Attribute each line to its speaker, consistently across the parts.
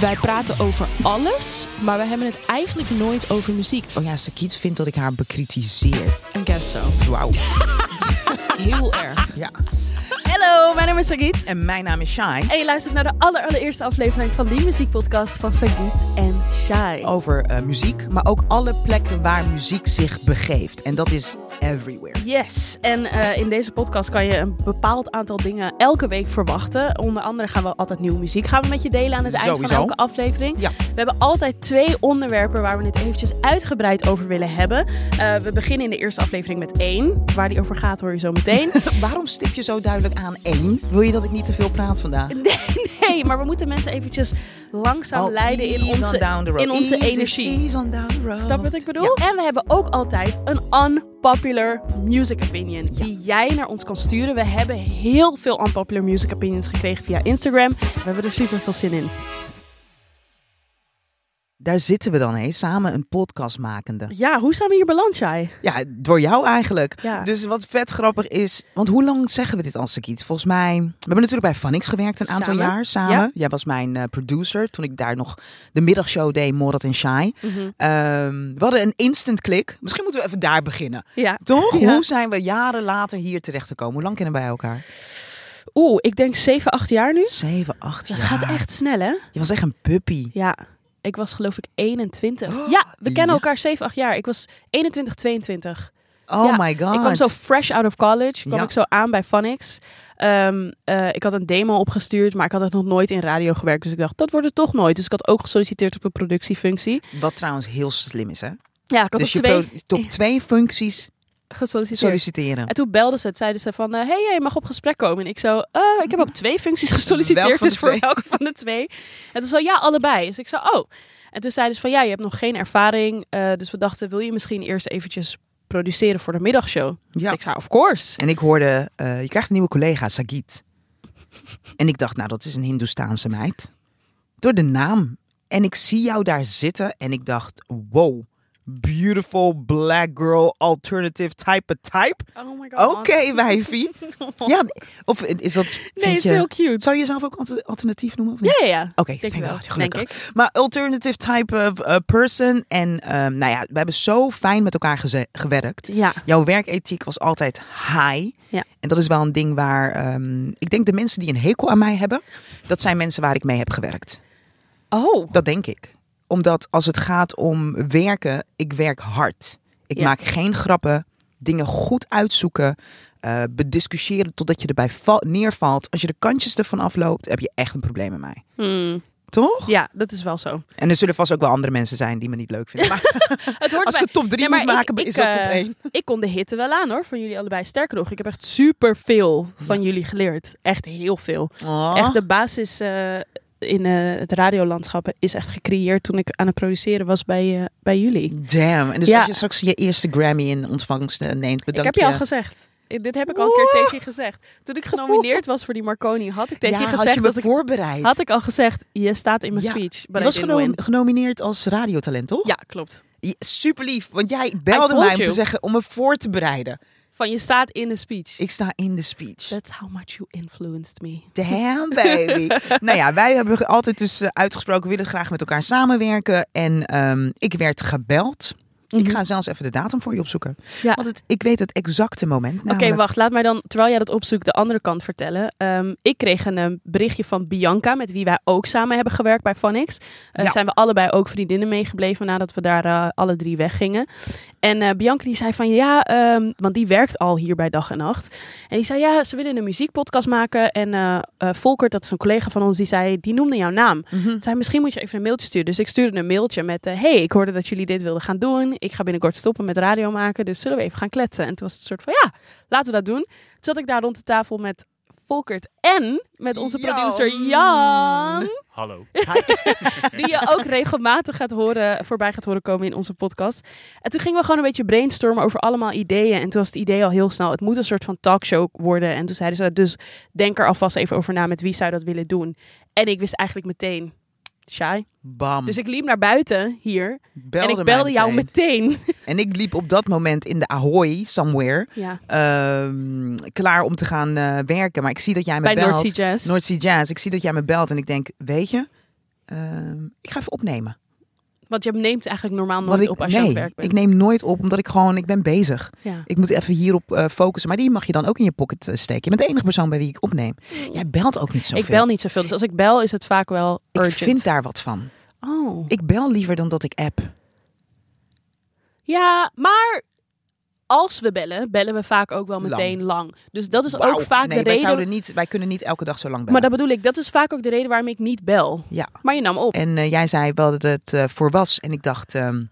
Speaker 1: Wij praten over alles, maar we hebben het eigenlijk nooit over muziek.
Speaker 2: Oh ja, Sakiet vindt dat ik haar bekritiseer.
Speaker 1: En guess so.
Speaker 2: Wauw.
Speaker 1: Heel erg.
Speaker 2: ja.
Speaker 3: Hallo, mijn naam is Sagit.
Speaker 2: En mijn naam is Shine.
Speaker 3: En je luistert naar de aller- allereerste aflevering van die muziekpodcast van Sagit en Shai.
Speaker 2: Over eh, muziek, maar ook alle plekken waar muziek zich begeeft. En dat is everywhere.
Speaker 3: Yes, en eh, in deze podcast kan je een bepaald aantal dingen elke week verwachten. Onder andere gaan we altijd nieuwe muziek gaan we met je delen aan het eind van
Speaker 2: Sowieso.
Speaker 3: elke aflevering.
Speaker 2: Ja.
Speaker 3: We hebben altijd twee onderwerpen waar we het eventjes uitgebreid over willen hebben. Eh, we beginnen in de eerste aflevering met één. Waar die over gaat hoor je zo meteen.
Speaker 2: Waarom stip je zo duidelijk aan één? Wil je dat ik niet te veel praat vandaag?
Speaker 3: Nee, maar we moeten mensen eventjes langzaam
Speaker 2: Al
Speaker 3: leiden in
Speaker 2: Oh, ease on
Speaker 3: onze,
Speaker 2: down the road.
Speaker 3: in onze
Speaker 2: Ease,
Speaker 3: energie.
Speaker 2: ease on down the road.
Speaker 3: Snap wat ik bedoel? En we hebben ook altijd een unpopular music opinion die jij naar ons kan sturen. We hebben heel veel unpopular music opinions gekregen via Instagram. We hebben er super veel zin in.
Speaker 2: Daar zitten we dan, hé. Samen een podcast makende.
Speaker 3: Ja, hoe zijn we hier beland, jij?
Speaker 2: Ja, door jou eigenlijk.
Speaker 3: Ja.
Speaker 2: Dus wat vet grappig is, want hoe lang zeggen we dit als ik iets? Volgens mij, we hebben natuurlijk bij Vanix gewerkt een aantal
Speaker 3: Samen.
Speaker 2: jaar samen.
Speaker 3: Ja.
Speaker 2: Jij was mijn eh, producer toen ik daar nog de middagshow deed, Morat en Shai. Ehm, we hadden een instant klik. Misschien moeten we even daar beginnen.
Speaker 3: Ja.
Speaker 2: Toch?
Speaker 3: Ja.
Speaker 2: Hoe zijn we jaren later hier terecht gekomen? Hoe lang kennen wij elkaar?
Speaker 3: Oeh, ik denk 7, 8 jaar nu.
Speaker 2: Zeven, acht
Speaker 3: Dat
Speaker 2: jaar.
Speaker 3: gaat echt snel, hè?
Speaker 2: Je was echt een puppy.
Speaker 3: Ja. Ik was geloof ik 21. ja, we kennen
Speaker 2: Oh, ja.
Speaker 3: elkaar 7, 8 jaar. Ik was 21, 22.
Speaker 2: Oh
Speaker 3: Ja,
Speaker 2: my god.
Speaker 3: Ik kwam zo fresh out of college, kwam
Speaker 2: Ja.
Speaker 3: ik zo aan bij Phonics. Ehm, eh, ik had een demo opgestuurd, maar ik had het nog nooit in radio gewerkt. Dus ik dacht, dat wordt het toch nooit. Dus ik had ook gesolliciteerd op een productiefunctie.
Speaker 2: Wat trouwens heel slim is, hè?
Speaker 3: Ja, ik had
Speaker 2: dus je
Speaker 3: op twee
Speaker 2: pro- top twee functies
Speaker 3: gesolliciteerd.
Speaker 2: solliciteren.
Speaker 3: En toen belden ze het, zeiden ze van, eh, hey, jij mag op gesprek komen. En ik zo, eh, ik heb op twee functies
Speaker 2: Welk
Speaker 3: gesolliciteerd,
Speaker 2: van de
Speaker 3: dus voor
Speaker 2: twee?
Speaker 3: welke van de twee? En toen zo, ja, allebei. Dus ik zo, oh. En toen zeiden ze van, ja, je hebt nog geen ervaring. eh, dus we dachten, wil je misschien eerst eventjes produceren voor de middagshow? Dus
Speaker 2: Ja.
Speaker 3: ik zei, of course.
Speaker 2: En ik hoorde, eh, je krijgt een nieuwe collega, Sagit. En ik dacht, nou, dat is een Hindoestaanse meid. Door de naam. En ik zie jou daar zitten en ik dacht, wow, beautiful black girl alternative type of type.
Speaker 3: Oh my god.
Speaker 2: Oké, wijfie. Ja, of is dat...
Speaker 3: Oh. Nee,
Speaker 2: vind
Speaker 3: het is
Speaker 2: je-
Speaker 3: heel cute.
Speaker 2: Zou je jezelf ook alter- alternatief noemen? Of niet?
Speaker 3: Ja, ja, ja.
Speaker 2: Oké,
Speaker 3: Denk
Speaker 2: thank
Speaker 3: ik wel,
Speaker 2: God, gelukkig.
Speaker 3: denk ik.
Speaker 2: Maar alternative type of eh, person. En ehm, nou ja, we hebben zo fijn met elkaar geze- gewerkt.
Speaker 3: Ja.
Speaker 2: Jouw werkethiek was altijd high.
Speaker 3: Ja.
Speaker 2: En dat is wel een ding waar... ehm, ik denk de mensen die een hekel aan mij hebben... dat zijn mensen waar ik mee heb gewerkt.
Speaker 3: Oh.
Speaker 2: Dat denk ik. Omdat als het gaat om werken, ik werk hard. Ik
Speaker 3: Ja.
Speaker 2: maak geen grappen, dingen goed uitzoeken, eh, bediscussiëren totdat je erbij val- neervalt. Als je de kantjes ervan afloopt, heb je echt een probleem met mij.
Speaker 3: Hmm.
Speaker 2: Toch?
Speaker 3: Ja, dat is wel zo.
Speaker 2: En er zullen vast ook wel andere mensen zijn die me niet leuk vinden. Maar
Speaker 3: Het hoort
Speaker 2: als ik
Speaker 3: bij...
Speaker 2: een top 3
Speaker 3: Nee,
Speaker 2: moet
Speaker 3: maar
Speaker 2: maken,
Speaker 3: ik-
Speaker 2: is
Speaker 3: ik,
Speaker 2: dat top
Speaker 3: eh,
Speaker 2: 1.
Speaker 3: Ik kon de hitte wel aan hoor, van jullie allebei. Sterker nog, ik heb echt super veel van jullie geleerd. Echt heel veel.
Speaker 2: Oh.
Speaker 3: Echt de basis eh, in eh, het radiolandschap is echt gecreëerd toen ik aan het produceren was bij, eh, bij jullie.
Speaker 2: Damn. En dus
Speaker 3: Ja.
Speaker 2: als je straks je eerste Grammy in ontvangst eh, neemt,
Speaker 3: ik
Speaker 2: bedankt
Speaker 3: heb je al gezegd. Ik- Dit heb ik al een keer tegen je gezegd. Toen ik genomineerd was voor die Marconi, had ik tegen
Speaker 2: ja,
Speaker 3: je
Speaker 2: had
Speaker 3: gezegd
Speaker 2: je me
Speaker 3: dat ik.
Speaker 2: voorbereid.
Speaker 3: Had ik al gezegd, je staat in mijn
Speaker 2: Ja,
Speaker 3: speech.
Speaker 2: je
Speaker 3: But
Speaker 2: was
Speaker 3: I didn't
Speaker 2: geno-
Speaker 3: win.
Speaker 2: genomineerd als radiotalent, toch?
Speaker 3: Ja, klopt.
Speaker 2: Ja, Super lief, want jij belde
Speaker 3: told
Speaker 2: mij om
Speaker 3: you.
Speaker 2: te zeggen om me voor te bereiden.
Speaker 3: Van je staat in de speech.
Speaker 2: Ik sta in de speech.
Speaker 3: That's how much you influenced me.
Speaker 2: Damn baby. nou ja, wij hebben altijd dus eh, uitgesproken, we willen graag met elkaar samenwerken. En ehm, ik werd gebeld. Ik ga zelfs even de datum voor je opzoeken.
Speaker 3: Mhm. Ja.
Speaker 2: Want het, ik weet het exacte moment.
Speaker 3: Oké,
Speaker 2: namelijk.
Speaker 3: wacht. Laat mij dan, terwijl jij dat opzoekt, de andere kant vertellen. Ehm, ik kreeg een eh, berichtje van Bianca, met wie wij ook samen hebben gewerkt bij Phonics. Daar
Speaker 2: Ja.
Speaker 3: zijn we allebei ook vriendinnen meegebleven nadat we daar eh, alle drie weggingen. En eh, Bianca die zei van ja, ehm, want die werkt al hier bij Dag en Nacht. En die zei ja, ze willen een muziekpodcast maken. En eh eh, Volkert, dat is een collega van ons, die zei, die noemde jouw naam.
Speaker 2: Mhm.
Speaker 3: Zei misschien moet je even een mailtje sturen. Dus ik stuurde een mailtje met, eh, hey, ik hoorde dat jullie dit wilden gaan doen. Ik ga binnenkort stoppen met radio maken, dus zullen we even gaan kletsen? En toen was het een soort van ja, laten we dat doen. Toen zat ik daar rond de tafel met Volkert en met onze
Speaker 2: Jan.
Speaker 3: producer Jan.
Speaker 4: Hallo.
Speaker 3: Die je ook regelmatig gaat horen, voorbij gaat horen komen in onze podcast. En toen gingen we gewoon een beetje brainstormen over allemaal ideeën. En toen was het idee al heel snel, het moet een soort van talkshow worden. En toen zeiden ze, dus denk er alvast even over na met wie zou dat willen doen. En ik wist eigenlijk meteen, shy.
Speaker 2: Bam.
Speaker 3: Dus ik liep naar buiten hier
Speaker 2: Mm. belde
Speaker 3: en
Speaker 2: mij
Speaker 3: ik belde jou
Speaker 2: meteen.
Speaker 3: meteen.
Speaker 2: En ik liep op dat moment in de Ahoy somewhere.
Speaker 3: Ja,
Speaker 2: ehm, klaar om te gaan eh, werken. Maar ik zie dat jij me
Speaker 3: bij
Speaker 2: belt.
Speaker 3: North Sea Jazz.
Speaker 2: North Sea Jazz. Ik zie dat jij me belt en ik denk, weet je, eh, ehm, ik ga even opnemen.
Speaker 3: Want je neemt eigenlijk normaal
Speaker 2: Want
Speaker 3: nooit
Speaker 2: ik,
Speaker 3: op als je
Speaker 2: nee,
Speaker 3: aan het werk bent.
Speaker 2: ik neem nooit op, omdat ik gewoon, ik ben bezig.
Speaker 3: ja.
Speaker 2: Ik moet even hierop eh, focussen. Maar die mag je dan ook in je pocket eh, steken. Je bent de enige persoon bij wie ik opneem. Jij belt ook niet zoveel.
Speaker 3: Mm. ik bel niet zoveel. Dus als ik bel is het vaak wel urgent.
Speaker 2: Ik vind daar wat van.
Speaker 3: Oh.
Speaker 2: Ik bel liever dan dat ik app.
Speaker 3: Ja, maar als we bellen, bellen we vaak ook wel
Speaker 2: Lang.
Speaker 3: meteen lang. Dus dat is
Speaker 2: Wauw.
Speaker 3: ook vaak
Speaker 2: nee,
Speaker 3: de
Speaker 2: wij,
Speaker 3: reden.
Speaker 2: zouden niet, wij kunnen niet elke dag zo lang bellen.
Speaker 3: Maar dat bedoel ik, dat is vaak ook de reden waarom ik niet bel.
Speaker 2: Ja.
Speaker 3: Maar je nam op.
Speaker 2: En eh, jij zei wel dat het eh, voor was. En ik dacht, ehm,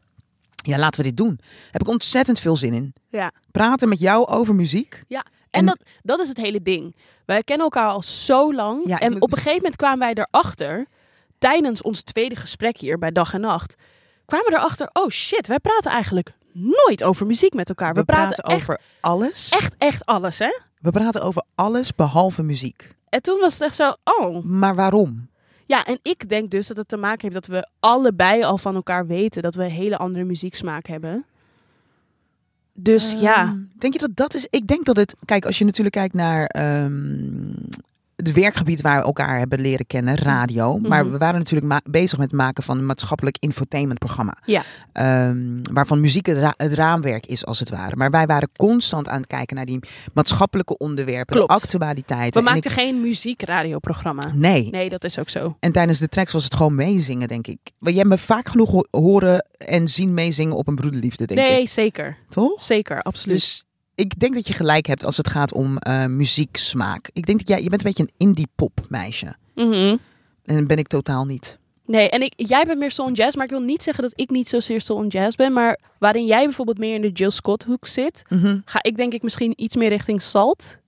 Speaker 2: ja, laten we dit doen. Heb ik ontzettend veel zin in.
Speaker 3: Ja.
Speaker 2: Praten met jou over muziek.
Speaker 3: Ja, en,
Speaker 2: En-
Speaker 3: dat, dat is het hele ding. Wij kennen elkaar al zo lang.
Speaker 2: Ja,
Speaker 3: en
Speaker 2: ik-
Speaker 3: op een gegeven moment kwamen wij erachter, tijdens ons tweede gesprek hier bij Dag en Nacht, kwamen we erachter, oh shit, wij praten eigenlijk nooit over muziek met elkaar. We, praten, echt,
Speaker 2: over alles.
Speaker 3: echt, echt alles, hè?
Speaker 2: We praten over alles behalve muziek.
Speaker 3: En toen was het echt zo, oh.
Speaker 2: Maar waarom?
Speaker 3: Ja, en ik denk dus dat het te maken heeft dat we allebei al van elkaar weten dat we een hele andere muzieksmaak hebben. Dus ja,
Speaker 2: Ehm, Denk je dat dat is? Ik denk dat het. Kijk, als je natuurlijk kijkt naar ehm, het werkgebied waar we elkaar hebben leren kennen, radio. Maar
Speaker 3: Mhm.
Speaker 2: we waren natuurlijk ma- bezig met het maken van een maatschappelijk infotainmentprogramma.
Speaker 3: Ja.
Speaker 2: Ehm, waarvan muziek het, ra- het raamwerk is, als het ware. Maar wij waren constant aan het kijken naar die maatschappelijke onderwerpen, de
Speaker 3: Klopt.
Speaker 2: actualiteit.
Speaker 3: we maakten geen muziekradioprogramma.
Speaker 2: Nee.
Speaker 3: Nee, dat is ook zo.
Speaker 2: En tijdens de tracks was het gewoon meezingen, denk ik. Maar jij hebt me vaak genoeg ho- horen en zien meezingen op een broederliefde, denk
Speaker 3: nee,
Speaker 2: ik.
Speaker 3: zeker.
Speaker 2: Toch?
Speaker 3: Zeker, absoluut.
Speaker 2: Dus ik denk dat je gelijk hebt als het gaat om eh, muzieksmaak. Ik denk dat jij, je bent een beetje een indie pop meisje.
Speaker 3: Mhm.
Speaker 2: En dat ben ik totaal niet.
Speaker 3: Nee, en ik, jij bent meer soul en jazz, maar ik wil niet zeggen dat ik niet zozeer soul en jazz ben. Maar waarin jij bijvoorbeeld meer in de Jill Scott hoek zit, ga ik denk ik misschien iets meer richting salt.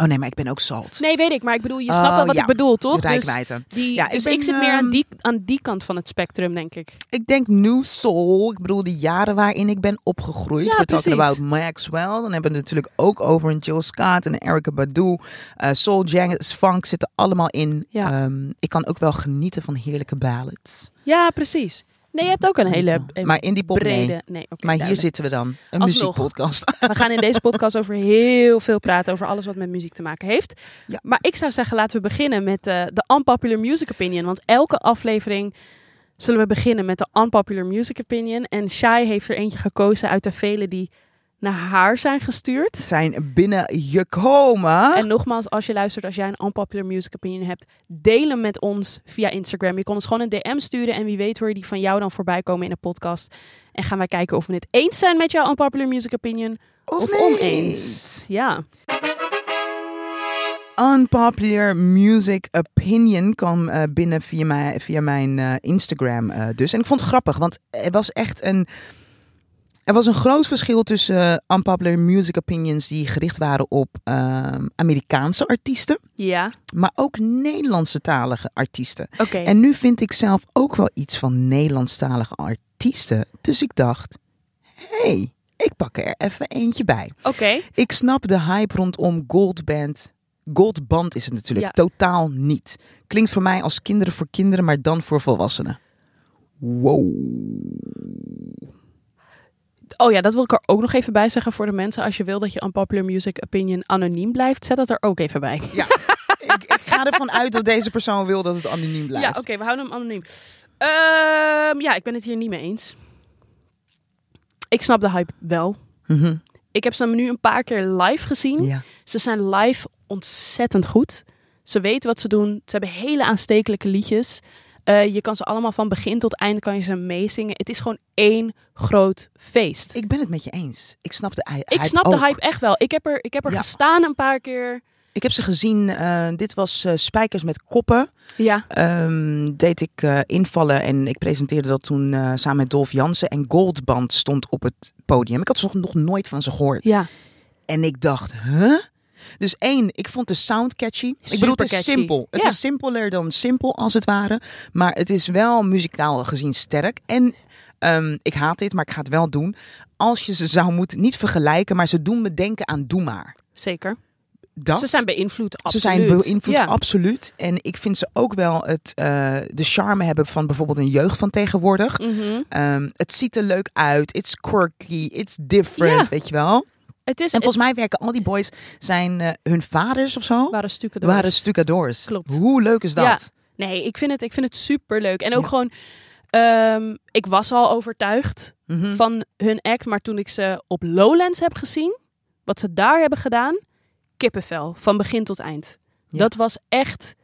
Speaker 2: Oh nee, maar ik ben ook salt.
Speaker 3: Nee, weet ik, maar ik bedoel, je
Speaker 2: Oh,
Speaker 3: snapt wel wat
Speaker 2: ja.
Speaker 3: ik bedoel, toch? Dus,
Speaker 2: Rijkwijde.
Speaker 3: die,
Speaker 2: Ja, ik
Speaker 3: dus ik,
Speaker 2: ben,
Speaker 3: zit meer aan
Speaker 2: ehm,
Speaker 3: die, aan die kant van het spectrum, denk ik.
Speaker 2: Ik denk new soul. Ik bedoel de jaren waarin ik ben opgegroeid.
Speaker 3: Ja,
Speaker 2: We're talking
Speaker 3: precies.
Speaker 2: about Maxwell. Dan hebben we het natuurlijk ook over een Jill Scott en een Erica Badu. Eh, soul, jazz, funk zitten allemaal in.
Speaker 3: Ja.
Speaker 2: Ehm, ik kan ook wel genieten van heerlijke ballads.
Speaker 3: Ja, precies. Nee, je hebt ook een hele eh,
Speaker 2: maar indie pop nee.
Speaker 3: brede... Nee, oké,
Speaker 2: Maar hier
Speaker 3: duidelijk.
Speaker 2: zitten we dan. Een
Speaker 3: Alsnog.
Speaker 2: muziekpodcast.
Speaker 3: We gaan in deze podcast over heel veel praten, over alles wat met muziek te maken heeft.
Speaker 2: Ja.
Speaker 3: Maar ik zou zeggen, laten we beginnen met eh, de Unpopular Music Opinion. Want elke aflevering zullen we beginnen met de Unpopular Music Opinion. En Shai heeft er eentje gekozen uit de vele die naar haar zijn gestuurd.
Speaker 2: zijn binnengekomen.
Speaker 3: En nogmaals, als je luistert, als jij een unpopular music opinion hebt, deel hem met ons via Instagram. Je kon ons gewoon een DM sturen en wie weet hoor je die van jou dan voorbij komen in de podcast. En gaan wij kijken of we het eens zijn met jouw unpopular music opinion of,
Speaker 2: niet.
Speaker 3: oneens. Ja.
Speaker 2: Unpopular music opinion kwam eh, binnen via, mij, via mijn eh, Instagram eh, dus. En ik vond het grappig, want er was echt een... Er was een groot verschil tussen eh, unpopular music opinions die gericht waren op ehm, Amerikaanse artiesten,
Speaker 3: Ja,
Speaker 2: maar ook Nederlandse talige artiesten.
Speaker 3: oké.
Speaker 2: En nu vind ik zelf ook wel iets van Nederlandstalige artiesten. Dus ik dacht, hey, ik pak er even eentje bij.
Speaker 3: Oké,
Speaker 2: Ik snap de hype rondom Goldband. Goldband is het natuurlijk totaal niet. Klinkt voor mij als kinderen voor kinderen, maar dan voor volwassenen. Wow.
Speaker 3: oh ja, dat wil ik er ook nog even bij zeggen voor de mensen. Als je wil dat je unpopular music opinion anoniem blijft, zet dat er ook even bij.
Speaker 2: ik, ik ga ervan uit dat deze persoon wil dat het anoniem blijft.
Speaker 3: Ja, oké, we houden hem anoniem. Ehm, ja, ik ben het hier niet mee eens. Ik snap de hype wel.
Speaker 2: Mhm.
Speaker 3: Ik heb ze nu een paar keer live gezien.
Speaker 2: Ja.
Speaker 3: Ze zijn live ontzettend goed. Ze weten wat ze doen. Ze hebben hele aanstekelijke liedjes. Eh, je kan ze allemaal van begin tot eind kan je ze meezingen. Het is gewoon één groot feest. Ik,
Speaker 2: Ik ben het met je eens. Ik snap de hy- hype
Speaker 3: snap de
Speaker 2: ook.
Speaker 3: hype echt wel. Ik heb er, ik heb er
Speaker 2: Ja.
Speaker 3: gestaan een paar keer.
Speaker 2: Ik heb ze gezien. eh, dit was eh, Spijkers met Koppen.
Speaker 3: Ja,
Speaker 2: Ehm, deed ik eh, invallen en ik presenteerde dat toen eh, samen met Dolf Jansen. En Goldband stond op het podium. Ik had ze nog- nog nooit van ze gehoord.
Speaker 3: ja.
Speaker 2: En ik dacht, huh? Dus één, ik vond de sound catchy. ik bedoel, het is
Speaker 3: Supercatchy.
Speaker 2: simpel. Het
Speaker 3: Ja.
Speaker 2: is simpeler dan simpel, als het ware. Maar het is wel muzikaal gezien sterk. En ehm, ik haat dit, maar ik ga het wel doen. Als je ze zou moeten, niet vergelijken, maar ze doen me denken aan Doe Maar.
Speaker 3: zeker.
Speaker 2: Dat,
Speaker 3: Ze zijn beïnvloed,
Speaker 2: ze
Speaker 3: absoluut.
Speaker 2: zijn beïnvloed,
Speaker 3: Ja.
Speaker 2: absoluut. En ik vind ze ook wel het, eh, de charme hebben van bijvoorbeeld een jeugd van tegenwoordig.
Speaker 3: Mhm.
Speaker 2: Ehm, het ziet er leuk uit. It's quirky. It's different,
Speaker 3: Ja.
Speaker 2: weet je wel.
Speaker 3: Het is,
Speaker 2: En
Speaker 3: het
Speaker 2: volgens mij werken al die boys, zijn eh, hun vaders of zo,
Speaker 3: waren stukken de
Speaker 2: waren
Speaker 3: worst.
Speaker 2: stucadoors.
Speaker 3: Klopt.
Speaker 2: Hoe leuk is dat?
Speaker 3: Ja. Nee, ik vind het, ik vind het superleuk. En ook
Speaker 2: Ja.
Speaker 3: gewoon, ehm, ik was al overtuigd
Speaker 2: Mhm.
Speaker 3: van hun act. Maar toen ik ze op Lowlands heb gezien, wat ze daar hebben gedaan, kippenvel. Van begin tot eind.
Speaker 2: Ja.
Speaker 3: Dat was echt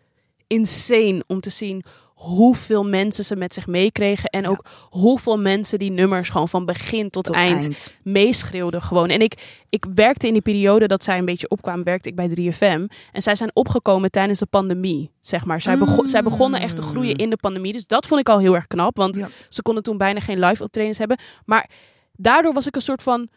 Speaker 3: insane om te zien hoeveel mensen ze met zich meekregen. En
Speaker 2: Ja.
Speaker 3: ook hoeveel mensen die nummers gewoon van begin tot, eind, meeschreeuwden gewoon. En ik, ik werkte in die periode dat zij een beetje opkwamen, werkte ik bij 3FM. En zij zijn opgekomen tijdens de pandemie, zeg maar. Zij, bego-
Speaker 2: Mm.
Speaker 3: zij begonnen echt te groeien in de pandemie. Dus dat vond ik al heel erg knap, want
Speaker 2: Ja.
Speaker 3: ze konden toen bijna geen live optredens hebben. Maar daardoor was ik een soort van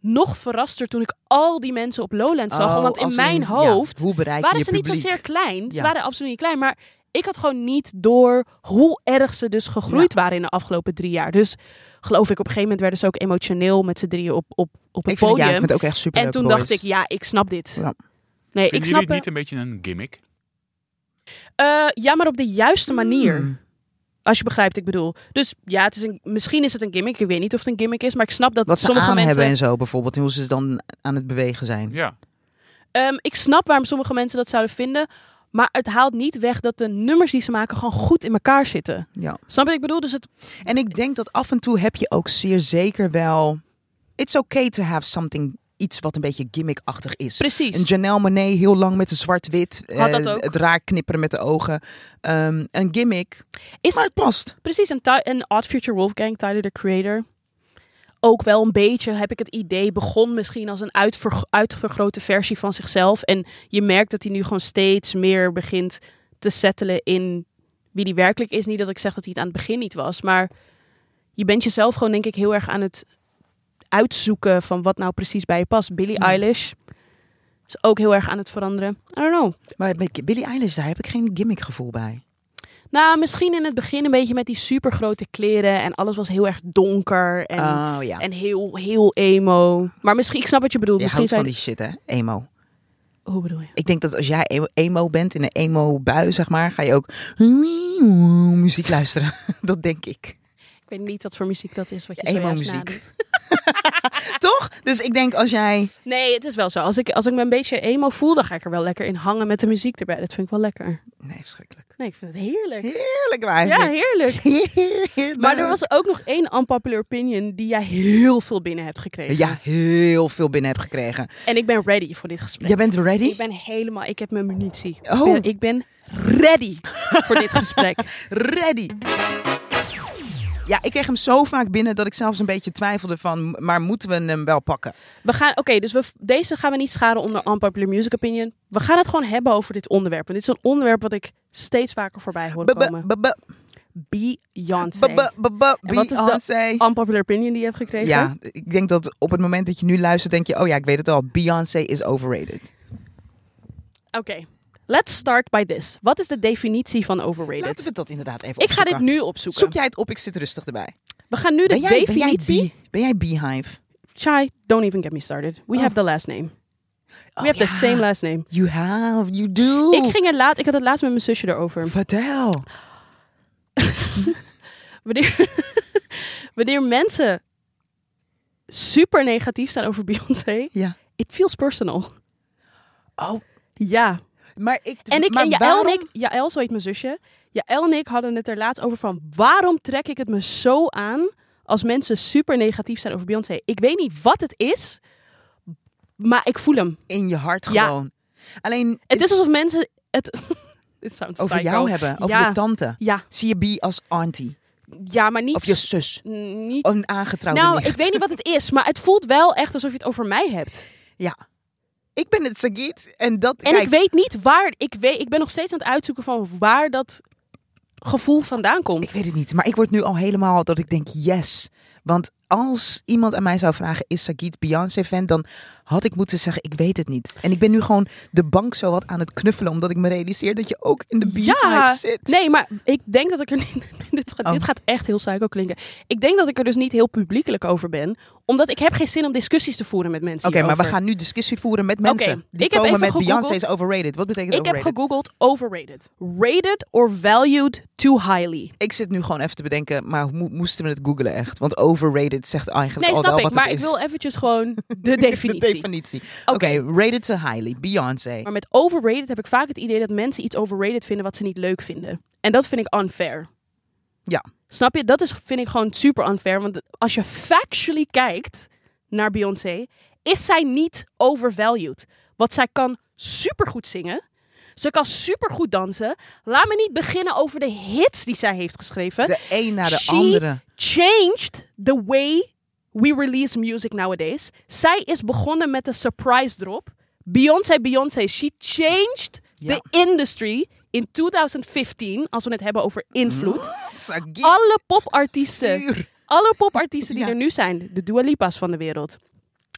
Speaker 3: nog verraster toen ik al die mensen op Lowland zag.
Speaker 2: Oh,
Speaker 3: want in
Speaker 2: als in,
Speaker 3: mijn
Speaker 2: ja,
Speaker 3: hoofd
Speaker 2: hoe bereik je
Speaker 3: waren
Speaker 2: je
Speaker 3: ze niet
Speaker 2: publiek?
Speaker 3: zozeer klein. Ze
Speaker 2: Ja.
Speaker 3: waren absoluut niet klein, maar ik had gewoon niet door hoe erg ze dus gegroeid waren in de afgelopen drie jaar. Dus geloof ik, op een gegeven moment werden ze ook emotioneel met z'n drieën op, op, op het
Speaker 2: Ik vind, ja, ik
Speaker 3: podium.
Speaker 2: vind het ook echt super
Speaker 3: en toen dacht ik, ja, ik snap dit.
Speaker 2: Ja.
Speaker 3: Nee, ik
Speaker 4: Vinden
Speaker 3: snap
Speaker 4: jullie
Speaker 3: het.
Speaker 4: het niet een beetje een gimmick?
Speaker 3: Eh, ja, maar op de juiste
Speaker 2: Hmm.
Speaker 3: manier.
Speaker 2: Mm.
Speaker 3: Als je begrijpt, wat ik bedoel. Dus ja, het is een, misschien is het een gimmick. Ik weet niet of het een gimmick is, maar ik snap dat
Speaker 2: wat ze aan
Speaker 3: sommige mensen...
Speaker 2: hebben en zo bijvoorbeeld. En hoe ze dan aan het bewegen zijn.
Speaker 4: Ja.
Speaker 3: Ehm, ik snap waarom sommige mensen dat zouden vinden. Maar het haalt niet weg dat de nummers die ze maken gewoon goed in elkaar zitten.
Speaker 2: Ja.
Speaker 3: Snap je wat ik bedoel? Dus het,
Speaker 2: En ik denk dat af en toe heb je ook zeer zeker wel... It's okay to have something... Iets wat een beetje gimmickachtig is.
Speaker 3: precies.
Speaker 2: Een Janelle Monet heel lang met de zwart-wit.
Speaker 3: Had dat
Speaker 2: eh,
Speaker 3: ook.
Speaker 2: Het raar knipperen met de ogen. Ehm, een gimmick.
Speaker 3: Is
Speaker 2: maar het past.
Speaker 3: Precies, en, Ty- en Odd Future Wolfgang, Tyler, the creator. Ook wel een beetje, heb ik het idee, begon misschien als een uitver- uitvergrote versie van zichzelf. En je merkt dat hij nu gewoon steeds meer begint te settelen in wie die werkelijk is. Niet dat ik zeg dat hij het aan het begin niet was, maar je bent jezelf gewoon denk ik heel erg aan het uitzoeken van wat nou precies bij je past. Billie
Speaker 2: Ja.
Speaker 3: Eilish is ook heel erg aan het veranderen. I don't know.
Speaker 2: Maar met Billie Eilish, daar heb ik geen gimmickgevoel bij.
Speaker 3: Nou, misschien in het begin een beetje met die supergrote kleren en alles was heel erg donker en,
Speaker 2: oh ja.
Speaker 3: en heel, heel emo. Maar misschien, ik snap wat je bedoelt.
Speaker 2: Je
Speaker 3: misschien
Speaker 2: houdt van
Speaker 3: zijn.
Speaker 2: die shit, hè? Emo.
Speaker 3: Hoe bedoel je?
Speaker 2: Ik denk dat als jij emo- emo bent, in een emo-bui, zeg maar, ga je ook muziek luisteren. dat denk ik.
Speaker 3: Ik weet niet wat voor muziek dat is. Wat je
Speaker 2: Emo
Speaker 3: zojuist
Speaker 2: muziek.
Speaker 3: nadoet.
Speaker 2: Toch? Dus ik denk als jij...
Speaker 3: Nee, het is wel zo. Als ik, als ik me een beetje emo voel, dan ga ik er wel lekker in hangen met de muziek erbij. Dat vind ik wel lekker.
Speaker 2: Nee, verschrikkelijk.
Speaker 3: Nee, ik vind het heerlijk.
Speaker 2: Heerlijk, maar
Speaker 3: Ja,
Speaker 2: eigenlijk.
Speaker 3: heerlijk.
Speaker 2: Heerlijk.
Speaker 3: Maar er was ook nog één unpopular opinion die jij heel veel binnen hebt gekregen.
Speaker 2: Ja, heel veel binnen heb gekregen.
Speaker 3: En ik ben ready voor dit gesprek.
Speaker 2: Jij bent ready?
Speaker 3: Ik ben helemaal, ik heb mijn munitie.
Speaker 2: Oh.
Speaker 3: Ik, ben, ik ben ready voor dit gesprek.
Speaker 2: ready. Ja, ik kreeg hem zo vaak binnen dat ik zelfs een beetje twijfelde van, maar moeten we hem wel pakken?
Speaker 3: We gaan, oké, dus we, deze gaan we niet scharen onder unpopular music opinion. We gaan het gewoon hebben over dit onderwerp. En dit is een onderwerp wat ik steeds vaker voorbij hoor
Speaker 2: Be- be-
Speaker 3: komen.
Speaker 2: be- be-
Speaker 3: Beyoncé.
Speaker 2: be- be- be- be-
Speaker 3: En wat is dat?
Speaker 2: Beyoncé.
Speaker 3: Unpopular opinion die je hebt gekregen.
Speaker 2: Ja, ik denk dat op het moment dat je nu luistert, denk je, oh ja, ik weet het al, Beyoncé is overrated.
Speaker 3: Oké, let's start by this. Wat is de definitie van overrated?
Speaker 2: Laten we dat inderdaad even
Speaker 3: Ik ga dit
Speaker 2: opzoeken.
Speaker 3: nu opzoeken.
Speaker 2: Zoek jij het op, ik zit rustig erbij.
Speaker 3: We gaan nu de
Speaker 2: Ben jij, ben, jij
Speaker 3: definitie...
Speaker 2: Bee- ben jij Beehive?
Speaker 3: Chai, don't even get me started. We
Speaker 2: Oh.
Speaker 3: have the last name. We
Speaker 2: Oh
Speaker 3: have
Speaker 2: ja.
Speaker 3: the same last name.
Speaker 2: You have, you do.
Speaker 3: Ik, ging er laat, ik had het laatst met mijn zusje erover.
Speaker 2: Vertel.
Speaker 3: Wanneer, wanneer mensen super negatief zijn over Beyoncé,
Speaker 2: Ja.
Speaker 3: it feels personal.
Speaker 2: Oh,
Speaker 3: Ja.
Speaker 2: maar ik...
Speaker 3: En, ik,
Speaker 2: maar
Speaker 3: en Jaël
Speaker 2: waarom-
Speaker 3: en ik, Jaël, zo heet mijn zusje, Jaël en ik hadden het er laatst over van waarom trek ik het me zo aan als mensen super negatief zijn over Beyoncé. Ik weet niet wat het is, maar ik voel hem.
Speaker 2: In je hart
Speaker 3: Ja.
Speaker 2: gewoon. Alleen...
Speaker 3: Het is alsof mensen het... Dit sounds
Speaker 2: over
Speaker 3: psycho.
Speaker 2: jou hebben, over
Speaker 3: Ja.
Speaker 2: je tante.
Speaker 3: Ja,
Speaker 2: Zie je Bee als auntie
Speaker 3: ja, maar niet...
Speaker 2: of je Oh, zus,
Speaker 3: niet
Speaker 2: een aangetrouwde
Speaker 3: nou,
Speaker 2: nicht.
Speaker 3: ik weet niet wat het is, maar het voelt wel echt alsof je het over mij hebt.
Speaker 2: Ja, ik ben het Sagit en dat.
Speaker 3: En
Speaker 2: kijk,
Speaker 3: ik weet niet waar. Ik, weet, ik ben nog steeds aan het uitzoeken van waar dat gevoel vandaan komt.
Speaker 2: ik weet het niet, maar ik word nu al helemaal dat ik denk yes, want als iemand aan mij zou vragen is Sagit Beyoncé fan, dan had ik moeten zeggen ik weet het niet. En ik ben nu gewoon de bank zo wat aan het knuffelen omdat ik me realiseer dat je ook in de Bee
Speaker 3: Ja,
Speaker 2: hype zit.
Speaker 3: Nee, maar ik denk dat ik er niet. dit, gaat,
Speaker 2: Oh.
Speaker 3: dit gaat echt heel psycho klinken. Ik denk dat ik er dus niet heel publiekelijk over ben, omdat ik heb geen zin om discussies te voeren met mensen.
Speaker 2: Oké, maar we
Speaker 3: hierover.
Speaker 2: gaan nu discussie voeren met mensen
Speaker 3: Oké,
Speaker 2: die
Speaker 3: ik heb
Speaker 2: komen
Speaker 3: even
Speaker 2: met Beyoncé
Speaker 3: gegoogeld.
Speaker 2: is overrated. Wat betekent
Speaker 3: Ik heb
Speaker 2: overrated?
Speaker 3: gegoogeld overrated. Rated or valued too highly.
Speaker 2: Ik zit nu gewoon even te bedenken, maar mo- moesten we het googlen echt? Want overrated zegt eigenlijk
Speaker 3: Nee,
Speaker 2: al
Speaker 3: snap
Speaker 2: wel
Speaker 3: ik.
Speaker 2: wat
Speaker 3: Maar
Speaker 2: het
Speaker 3: ik
Speaker 2: is.
Speaker 3: wil eventjes gewoon de definitie.
Speaker 2: De definitie. Oké, rated to highly. Beyoncé.
Speaker 3: Maar met overrated heb ik vaak het idee dat mensen iets overrated vinden wat ze niet leuk vinden. En dat vind ik unfair.
Speaker 2: Ja.
Speaker 3: Snap je? Dat is, vind ik gewoon super unfair. Want als je factually kijkt naar Beyoncé, is zij niet overvalued. Want zij kan supergoed zingen. Ze kan supergoed dansen. Laat me niet beginnen over de hits die zij heeft geschreven.
Speaker 2: De een na de
Speaker 3: She-
Speaker 2: andere.
Speaker 3: Changed the way we release music nowadays. Zij is begonnen met een surprise drop. Beyoncé, Beyoncé. She changed
Speaker 2: Ja.
Speaker 3: the industry in 2015. Als we het hebben over invloed.
Speaker 2: Sagitt.
Speaker 3: Alle popartiesten.
Speaker 2: Vuur.
Speaker 3: Alle popartiesten die
Speaker 2: Ja.
Speaker 3: er nu zijn. De Dua Lipa's van de wereld.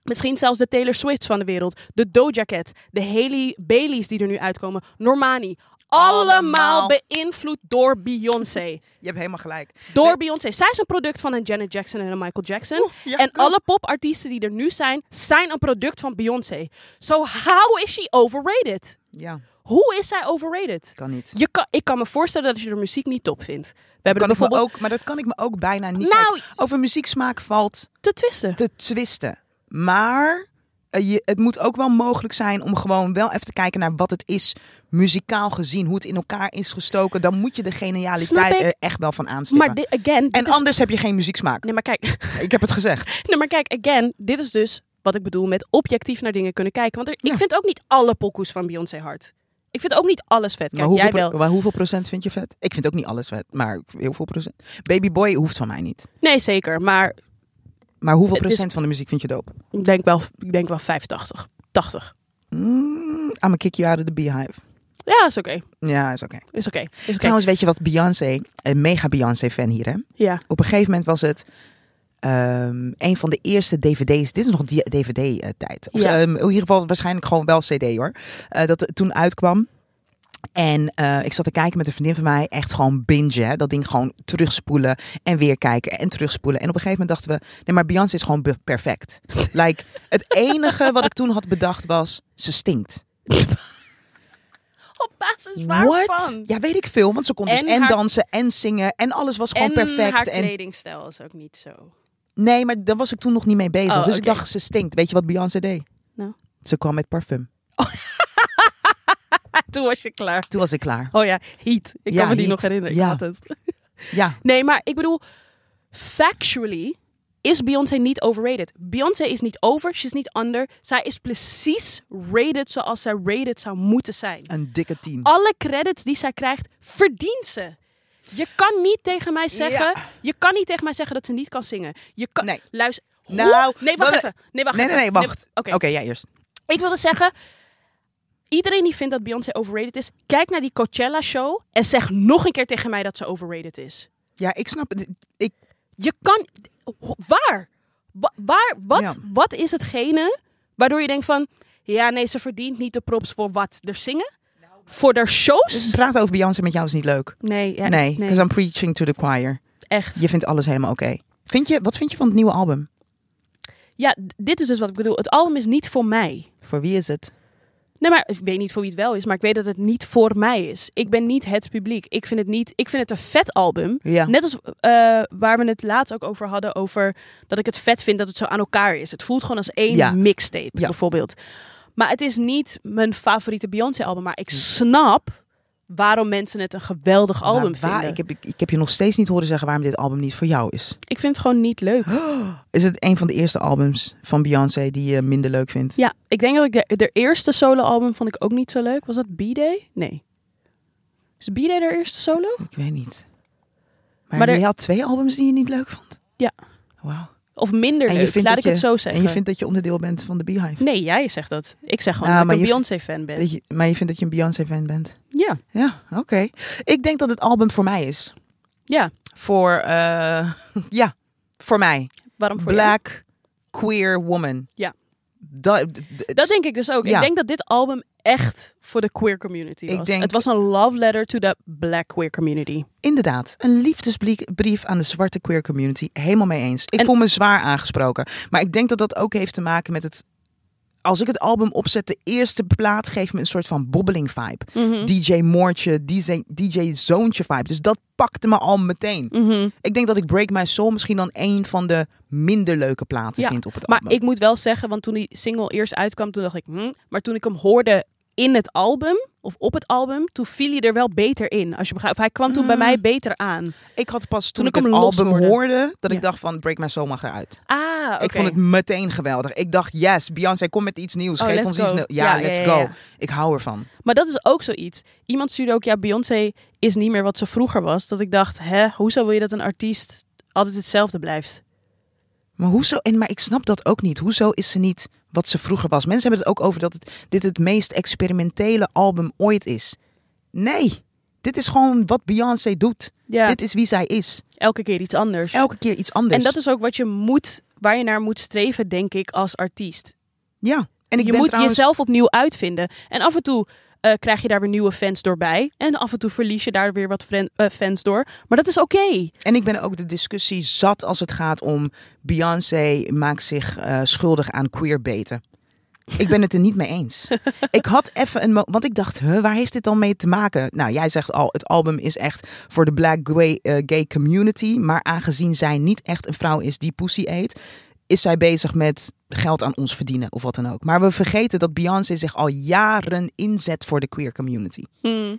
Speaker 3: Misschien zelfs de Taylor Swift's van de wereld. De Doja Cat. De Haley Bailey's die er nu uitkomen. Normani.
Speaker 2: Allemaal.
Speaker 3: Allemaal beïnvloed door Beyoncé.
Speaker 2: Je hebt helemaal gelijk.
Speaker 3: Door
Speaker 2: Nee.
Speaker 3: Beyoncé. Zij is een product van een Janet Jackson en een Michael Jackson.
Speaker 2: Oeh, ja,
Speaker 3: en
Speaker 2: klopt.
Speaker 3: alle popartiesten die er nu zijn, zijn een product van Beyoncé. So how is she overrated?
Speaker 2: Ja,
Speaker 3: Hoe is zij overrated?
Speaker 2: kan niet.
Speaker 3: Je kan, ik kan me voorstellen dat je de muziek niet top vindt. We hebben
Speaker 2: Kan
Speaker 3: er
Speaker 2: ik me
Speaker 3: bijvoorbeeld
Speaker 2: ook, maar dat kan ik me ook bijna niet.
Speaker 3: Nou-
Speaker 2: Kijk, over muzieksmaak valt
Speaker 3: te twisten.
Speaker 2: te twisten. Maar eh, je, het moet ook wel mogelijk zijn om gewoon wel even te kijken naar wat het is muzikaal gezien, hoe het in elkaar is gestoken. Dan moet je de
Speaker 3: Snap
Speaker 2: genialiteit
Speaker 3: ik.
Speaker 2: er echt wel van aanstippen.
Speaker 3: maar di- again,
Speaker 2: en
Speaker 3: dit is-
Speaker 2: anders heb je geen muzieksmaak.
Speaker 3: nee, maar kijk,
Speaker 2: Ik heb het gezegd.
Speaker 3: nee, maar kijk, again, dit is dus wat ik bedoel met objectief naar dingen kunnen kijken. Want er-
Speaker 2: Ja.
Speaker 3: ik vind ook niet alle pokoes van Beyoncé hard. Ik vind ook niet alles vet. Kijk,
Speaker 2: maar, hoeveel
Speaker 3: jij
Speaker 2: pro-
Speaker 3: wel.
Speaker 2: maar hoeveel procent vind je vet? Ik vind ook niet alles vet, maar heel veel procent. Baby Boy hoeft van mij niet.
Speaker 3: Nee, zeker. Maar
Speaker 2: Maar hoeveel
Speaker 3: Het is-
Speaker 2: procent van de muziek vind je dope?
Speaker 3: ik denk wel, ik denk wel 85. 80.
Speaker 2: Mm, I'm a kick you out of the beehive.
Speaker 3: Ja, is oké.
Speaker 2: Ja, is oké.
Speaker 3: Is oké. Is oké.
Speaker 2: Trouwens, weet je wat Beyoncé, een mega Beyoncé-fan hier, hè?
Speaker 3: Ja.
Speaker 2: Op een gegeven moment was het ehm, een van de eerste DVD's. Dit is nog DVD-tijd. Of
Speaker 3: Ja.
Speaker 2: ehm, in ieder geval waarschijnlijk gewoon wel CD hoor. Eh, dat het toen uitkwam. En eh, ik zat te kijken met een vriendin van mij. Echt gewoon bingen. Hè? Dat ding gewoon terugspoelen. En weer kijken. En terugspoelen. En op een gegeven moment dachten we. Nee, maar Beyoncé is gewoon be- perfect. like, het enige wat ik toen had bedacht was. Ze stinkt.
Speaker 3: Op basis
Speaker 2: What?
Speaker 3: waarvan?
Speaker 2: Ja, weet ik veel. Want ze kon dus
Speaker 3: En
Speaker 2: en
Speaker 3: haar-
Speaker 2: dansen. En zingen. En alles was gewoon
Speaker 3: en
Speaker 2: perfect.
Speaker 3: haar
Speaker 2: en
Speaker 3: kledingstijl is ook niet zo.
Speaker 2: Nee, maar daar was ik toen nog niet mee bezig.
Speaker 3: Oh,
Speaker 2: dus ik
Speaker 3: oké.
Speaker 2: dacht, ze stinkt. Weet je wat Beyoncé deed?
Speaker 3: Nou.
Speaker 2: Ze kwam met parfum.
Speaker 3: Toen was je klaar.
Speaker 2: Toen was ik klaar.
Speaker 3: Oh ja, heat. Ik
Speaker 2: Ja,
Speaker 3: kan me die
Speaker 2: heat.
Speaker 3: nog herinneren. Ik
Speaker 2: Ja.
Speaker 3: had het.
Speaker 2: Ja,
Speaker 3: Nee, maar ik bedoel, factually is Beyoncé niet overrated. Beyoncé is niet over, she's niet under. Zij is precies rated zoals zij rated zou moeten zijn.
Speaker 2: een dikke tien.
Speaker 3: alle credits die zij krijgt, verdient ze. Je kan niet tegen mij zeggen,
Speaker 2: Ja.
Speaker 3: je kan niet tegen mij zeggen dat ze niet kan zingen. Je kan,
Speaker 2: Nee.
Speaker 3: luister. hoe-
Speaker 2: Nou,
Speaker 3: nee, wacht
Speaker 2: maar we-
Speaker 3: even. Nee, wacht
Speaker 2: nee, nee,
Speaker 3: even.
Speaker 2: nee, wacht.
Speaker 3: Oké,
Speaker 2: Oké, jij eerst.
Speaker 3: ik wilde zeggen, iedereen die vindt dat Beyoncé overrated is, kijk naar die Coachella show en zeg nog een keer tegen mij dat ze overrated is.
Speaker 2: Ja, ik snap het. Ik,
Speaker 3: Je kan, ho- waar, Wa- waar, wat,
Speaker 2: Ja.
Speaker 3: wat is hetgene waardoor je denkt van, ja, nee, ze verdient niet de props voor wat, de zingen,
Speaker 2: Nou,
Speaker 3: voor de shows.
Speaker 2: praten over Beyoncé met jou is niet leuk.
Speaker 3: Nee, ja,
Speaker 2: Dus- nee, because I'm preaching to the choir.
Speaker 3: echt.
Speaker 2: Je vindt alles helemaal oké. Vind je, wat vind je van het nieuwe album?
Speaker 3: Ja, d- dit is dus wat ik bedoel. Het album is niet voor mij.
Speaker 2: Voor wie is het?
Speaker 3: Nee, maar ik weet niet voor wie het wel is, maar ik weet dat het niet voor mij is. Ik ben niet het publiek. Ik vind het niet. Ik vind het een vet album.
Speaker 2: Ja.
Speaker 3: Net als eh, waar we het laatst ook over hadden over dat ik het vet vind dat het zo aan elkaar is. Het voelt gewoon als één
Speaker 2: Ja.
Speaker 3: mixtape
Speaker 2: Ja.
Speaker 3: bijvoorbeeld. Maar het is niet mijn favoriete Beyoncé album, maar ik snap waarom mensen het een geweldig album
Speaker 2: Maar waar-
Speaker 3: vinden.
Speaker 2: ik,
Speaker 3: Ik,
Speaker 2: heb, ik, ik heb je nog steeds niet horen zeggen waarom dit album niet voor jou is.
Speaker 3: vind het gewoon niet leuk.
Speaker 2: Is het een van de eerste albums van Beyoncé die je minder leuk vindt?
Speaker 3: Ja, ik denk dat ik de, de eerste solo-album vond ik ook niet zo leuk. Was dat B-Day? Nee. Is B-Day de eerste solo?
Speaker 2: Ik weet niet. Maar,
Speaker 3: Maar er-
Speaker 2: je had twee albums die je niet leuk vond?
Speaker 3: Ja.
Speaker 2: Wauw.
Speaker 3: Of minder
Speaker 2: En je
Speaker 3: leuk,
Speaker 2: vindt
Speaker 3: laat
Speaker 2: dat
Speaker 3: ik het
Speaker 2: je-
Speaker 3: zo zeggen.
Speaker 2: En je vindt dat je onderdeel bent van de Beehive?
Speaker 3: Nee, jij zegt dat. Ik zeg gewoon dat
Speaker 2: Nou,
Speaker 3: ik
Speaker 2: maar
Speaker 3: een
Speaker 2: je
Speaker 3: Beyoncé-fan ben.
Speaker 2: Dat je, maar je vindt dat je een Beyoncé-fan bent?
Speaker 3: Ja,
Speaker 2: Ja, oké. Ik denk dat het album voor mij is.
Speaker 3: ja.
Speaker 2: Voor, eh, ja, voor mij.
Speaker 3: Waarom voor jou?
Speaker 2: Black, queer woman.
Speaker 3: Ja.
Speaker 2: Dat,
Speaker 3: Dat denk ik dus ook.
Speaker 2: Ja.
Speaker 3: Ik denk dat dit album echt voor de queer community
Speaker 2: Ik
Speaker 3: was.
Speaker 2: denk-
Speaker 3: Het was een love letter to the black queer community.
Speaker 2: Inderdaad, een liefdesbrief aan de zwarte queer community. Helemaal mee eens. Ik
Speaker 3: En-
Speaker 2: voel me zwaar aangesproken. Maar ik denk dat dat ook heeft te maken met het als ik het album opzet, de eerste plaat geeft me een soort van bobbeling vibe.
Speaker 3: Mhm.
Speaker 2: DJ Moortje, DJ, DJ Zoontje vibe. Dus dat pakte me al meteen.
Speaker 3: Mhm.
Speaker 2: Ik denk dat ik Break My Soul misschien dan een van de minder leuke platen
Speaker 3: Ja,
Speaker 2: vind op het
Speaker 3: Maar
Speaker 2: album.
Speaker 3: ik moet wel zeggen, want toen die single eerst uitkwam, toen dacht ik, hm. maar toen ik hem hoorde in het album of op het album, toen viel hij er wel beter in. Als je begrijpt, of hij kwam toen bij
Speaker 1: Mm.
Speaker 3: mij beter aan.
Speaker 2: Ik had pas toen,
Speaker 3: Toen
Speaker 2: ik
Speaker 3: ik
Speaker 2: het
Speaker 3: hem los
Speaker 2: album
Speaker 3: hoorde.
Speaker 2: hoorde, dat ik
Speaker 3: Ja.
Speaker 2: dacht van Break My Soul mag eruit.
Speaker 3: Ah, oké.
Speaker 2: Ik vond het meteen geweldig. Ik dacht, yes, Beyoncé, kom met iets nieuws.
Speaker 3: Oh,
Speaker 2: Geef
Speaker 3: let's
Speaker 2: ons
Speaker 3: go.
Speaker 2: iets nieuws. Ja,
Speaker 3: Ja,
Speaker 2: let's
Speaker 3: ja, ja,
Speaker 2: go.
Speaker 3: ja.
Speaker 2: Ik hou ervan.
Speaker 3: Maar dat is ook zoiets. Iemand stuurde ook, ja, Beyoncé is niet meer wat ze vroeger was. Dat ik dacht, hè, hoezo wil je dat een artiest altijd hetzelfde blijft?
Speaker 2: Maar hoezo? En maar ik snap dat ook niet. Hoezo is ze niet wat ze vroeger was? Mensen hebben het ook over dat het, dit het meest experimentele album ooit is. Nee, dit is gewoon wat Beyoncé doet.
Speaker 3: Ja,
Speaker 2: Dit is wie zij is.
Speaker 3: elke keer iets anders.
Speaker 2: Elke keer iets anders.
Speaker 3: En dat is ook wat je moet, waar je naar moet streven, denk ik, als artiest.
Speaker 2: ja. En ik
Speaker 3: je
Speaker 2: ben
Speaker 3: moet
Speaker 2: trouwens,
Speaker 3: jezelf opnieuw uitvinden. En af en toe eh, krijg je daar weer nieuwe fans door bij. En af en toe verlies je daar weer wat fren- eh, fans door. Maar dat is oké.
Speaker 2: En ik ben ook de discussie zat als het gaat om Beyoncé maakt zich eh, schuldig aan queerbeten. Ik ben het er niet mee eens. Ik had even een. mo- Want ik dacht, huh, waar heeft dit dan mee te maken? Nou, jij zegt al, het album is echt voor de black gay, eh, gay community. Maar aangezien zij niet echt een vrouw is die pussy eet, is zij bezig met geld aan ons verdienen of wat dan ook. Maar we vergeten dat Beyoncé zich al jaren inzet voor de queer community.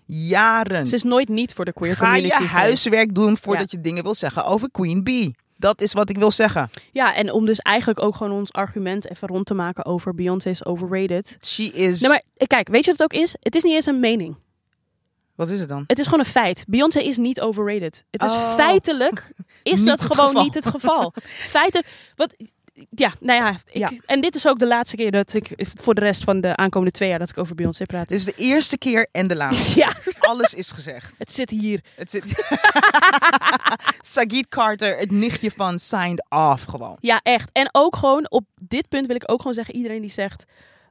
Speaker 2: Jaren.
Speaker 3: Ze is nooit niet voor de queer
Speaker 2: Ga
Speaker 3: community.
Speaker 2: je
Speaker 3: geweest.
Speaker 2: huiswerk doen voordat je dingen wil zeggen over Queen Bee. Dat is wat ik wil zeggen.
Speaker 3: Ja, en om dus eigenlijk ook gewoon ons argument even rond te maken over Beyoncé is overrated.
Speaker 2: She is...
Speaker 3: Nee, maar eh, kijk, weet je wat het ook is? Het is niet eens een mening.
Speaker 2: Wat is het dan?
Speaker 3: Het is gewoon een feit. Beyoncé is niet overrated. Het is
Speaker 2: Oh.
Speaker 3: feitelijk is
Speaker 2: Niet
Speaker 3: dat
Speaker 2: het
Speaker 3: gewoon
Speaker 2: geval.
Speaker 3: niet het geval. Feiten. Wat? Ja, nou ja, ik-
Speaker 2: Ja.
Speaker 3: En dit is ook de laatste keer dat ik voor de rest van de aankomende twee jaar dat ik over Beyoncé praat.
Speaker 2: Dit is de eerste keer en de laatste.
Speaker 3: Ja,
Speaker 2: Alles is gezegd.
Speaker 3: het zit hier.
Speaker 2: Het zit... Sagit Carter, het nichtje van Signed Off gewoon.
Speaker 3: Ja, echt. En ook gewoon op dit punt wil ik ook gewoon zeggen: iedereen die zegt.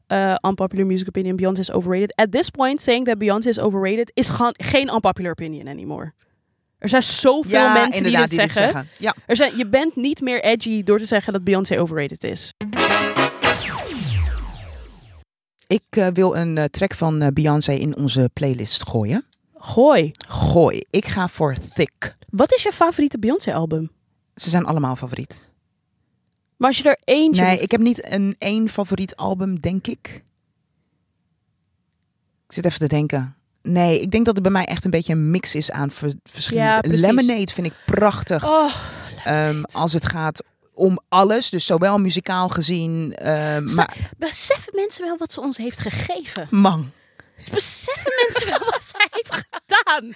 Speaker 3: eh unpopular music opinion, Beyoncé is overrated. At this point, saying that Beyoncé is overrated is gewoon geen unpopular opinion anymore. Er zijn zoveel
Speaker 2: ja,
Speaker 3: mensen die dit
Speaker 2: inderdaad,
Speaker 3: zeggen.
Speaker 2: Ja.
Speaker 3: Er zijn, je bent niet meer edgy door te zeggen dat Beyoncé overrated is.
Speaker 2: Ik eh, wil een eh, track van eh, Beyoncé in onze playlist gooien.
Speaker 3: Gooi.
Speaker 2: Gooi. Ik ga voor Thick.
Speaker 3: Wat is je favoriete Beyoncé-album?
Speaker 2: Ze zijn allemaal favoriet.
Speaker 3: Maar als je er eentje...
Speaker 2: Nee, ik heb niet een één favoriet album, denk ik. Ik zit even te denken. Nee, ik denk dat het bij mij echt een beetje een mix is aan ver- verschillende.
Speaker 3: Ja, precies.
Speaker 2: Lemonade vind ik prachtig.
Speaker 3: Oh,
Speaker 2: ehm, als het gaat om alles, dus zowel muzikaal gezien, ehm,
Speaker 3: Sa-
Speaker 2: maar
Speaker 3: beseffen mensen wel wat ze ons heeft gegeven?
Speaker 2: man,
Speaker 3: Beseffen mensen wel wat zij heeft gedaan?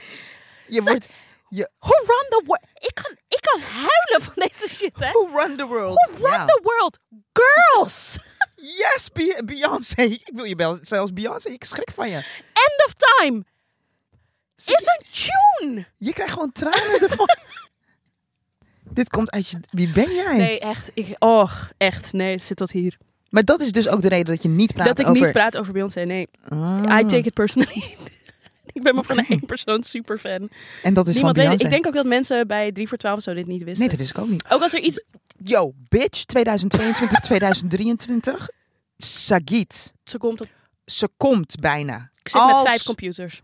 Speaker 2: je
Speaker 3: Sa-
Speaker 2: wordt
Speaker 3: Who run the world? Ik kan, ik kan huilen van deze shit, hè?
Speaker 2: Who Run the World.
Speaker 3: Who run
Speaker 2: Ja.
Speaker 3: the world? Girls!
Speaker 2: Yes, Be- Beyoncé. Ik wil je bel, zelfs Beyoncé. Ik schrik van je.
Speaker 3: End of time! Is een tune!
Speaker 2: Je krijgt gewoon tranen ervan. Dit komt uit je. Wie ben jij?
Speaker 3: Nee, echt. Ik, och, echt. Nee, het zit tot hier.
Speaker 2: Maar dat is dus ook de reden dat je niet praat
Speaker 3: dat ik
Speaker 2: over.
Speaker 3: niet praat over Beyoncé, nee.
Speaker 2: Ah.
Speaker 3: I take it personally. ik ben maar van één persoon superfan.
Speaker 2: En dat
Speaker 3: Niemand
Speaker 2: is van
Speaker 3: weet het.
Speaker 2: Beyoncé.
Speaker 3: Ik denk ook dat mensen bij 3 voor 12 zo dit niet wisten.
Speaker 2: Nee, dat wist ik ook niet.
Speaker 3: Ook als er iets...
Speaker 2: Yo, bitch, 2022, 2023. Sagit,
Speaker 3: Ze komt op...
Speaker 2: ze komt bijna.
Speaker 3: Ik zit
Speaker 2: als,
Speaker 3: met vijf computers.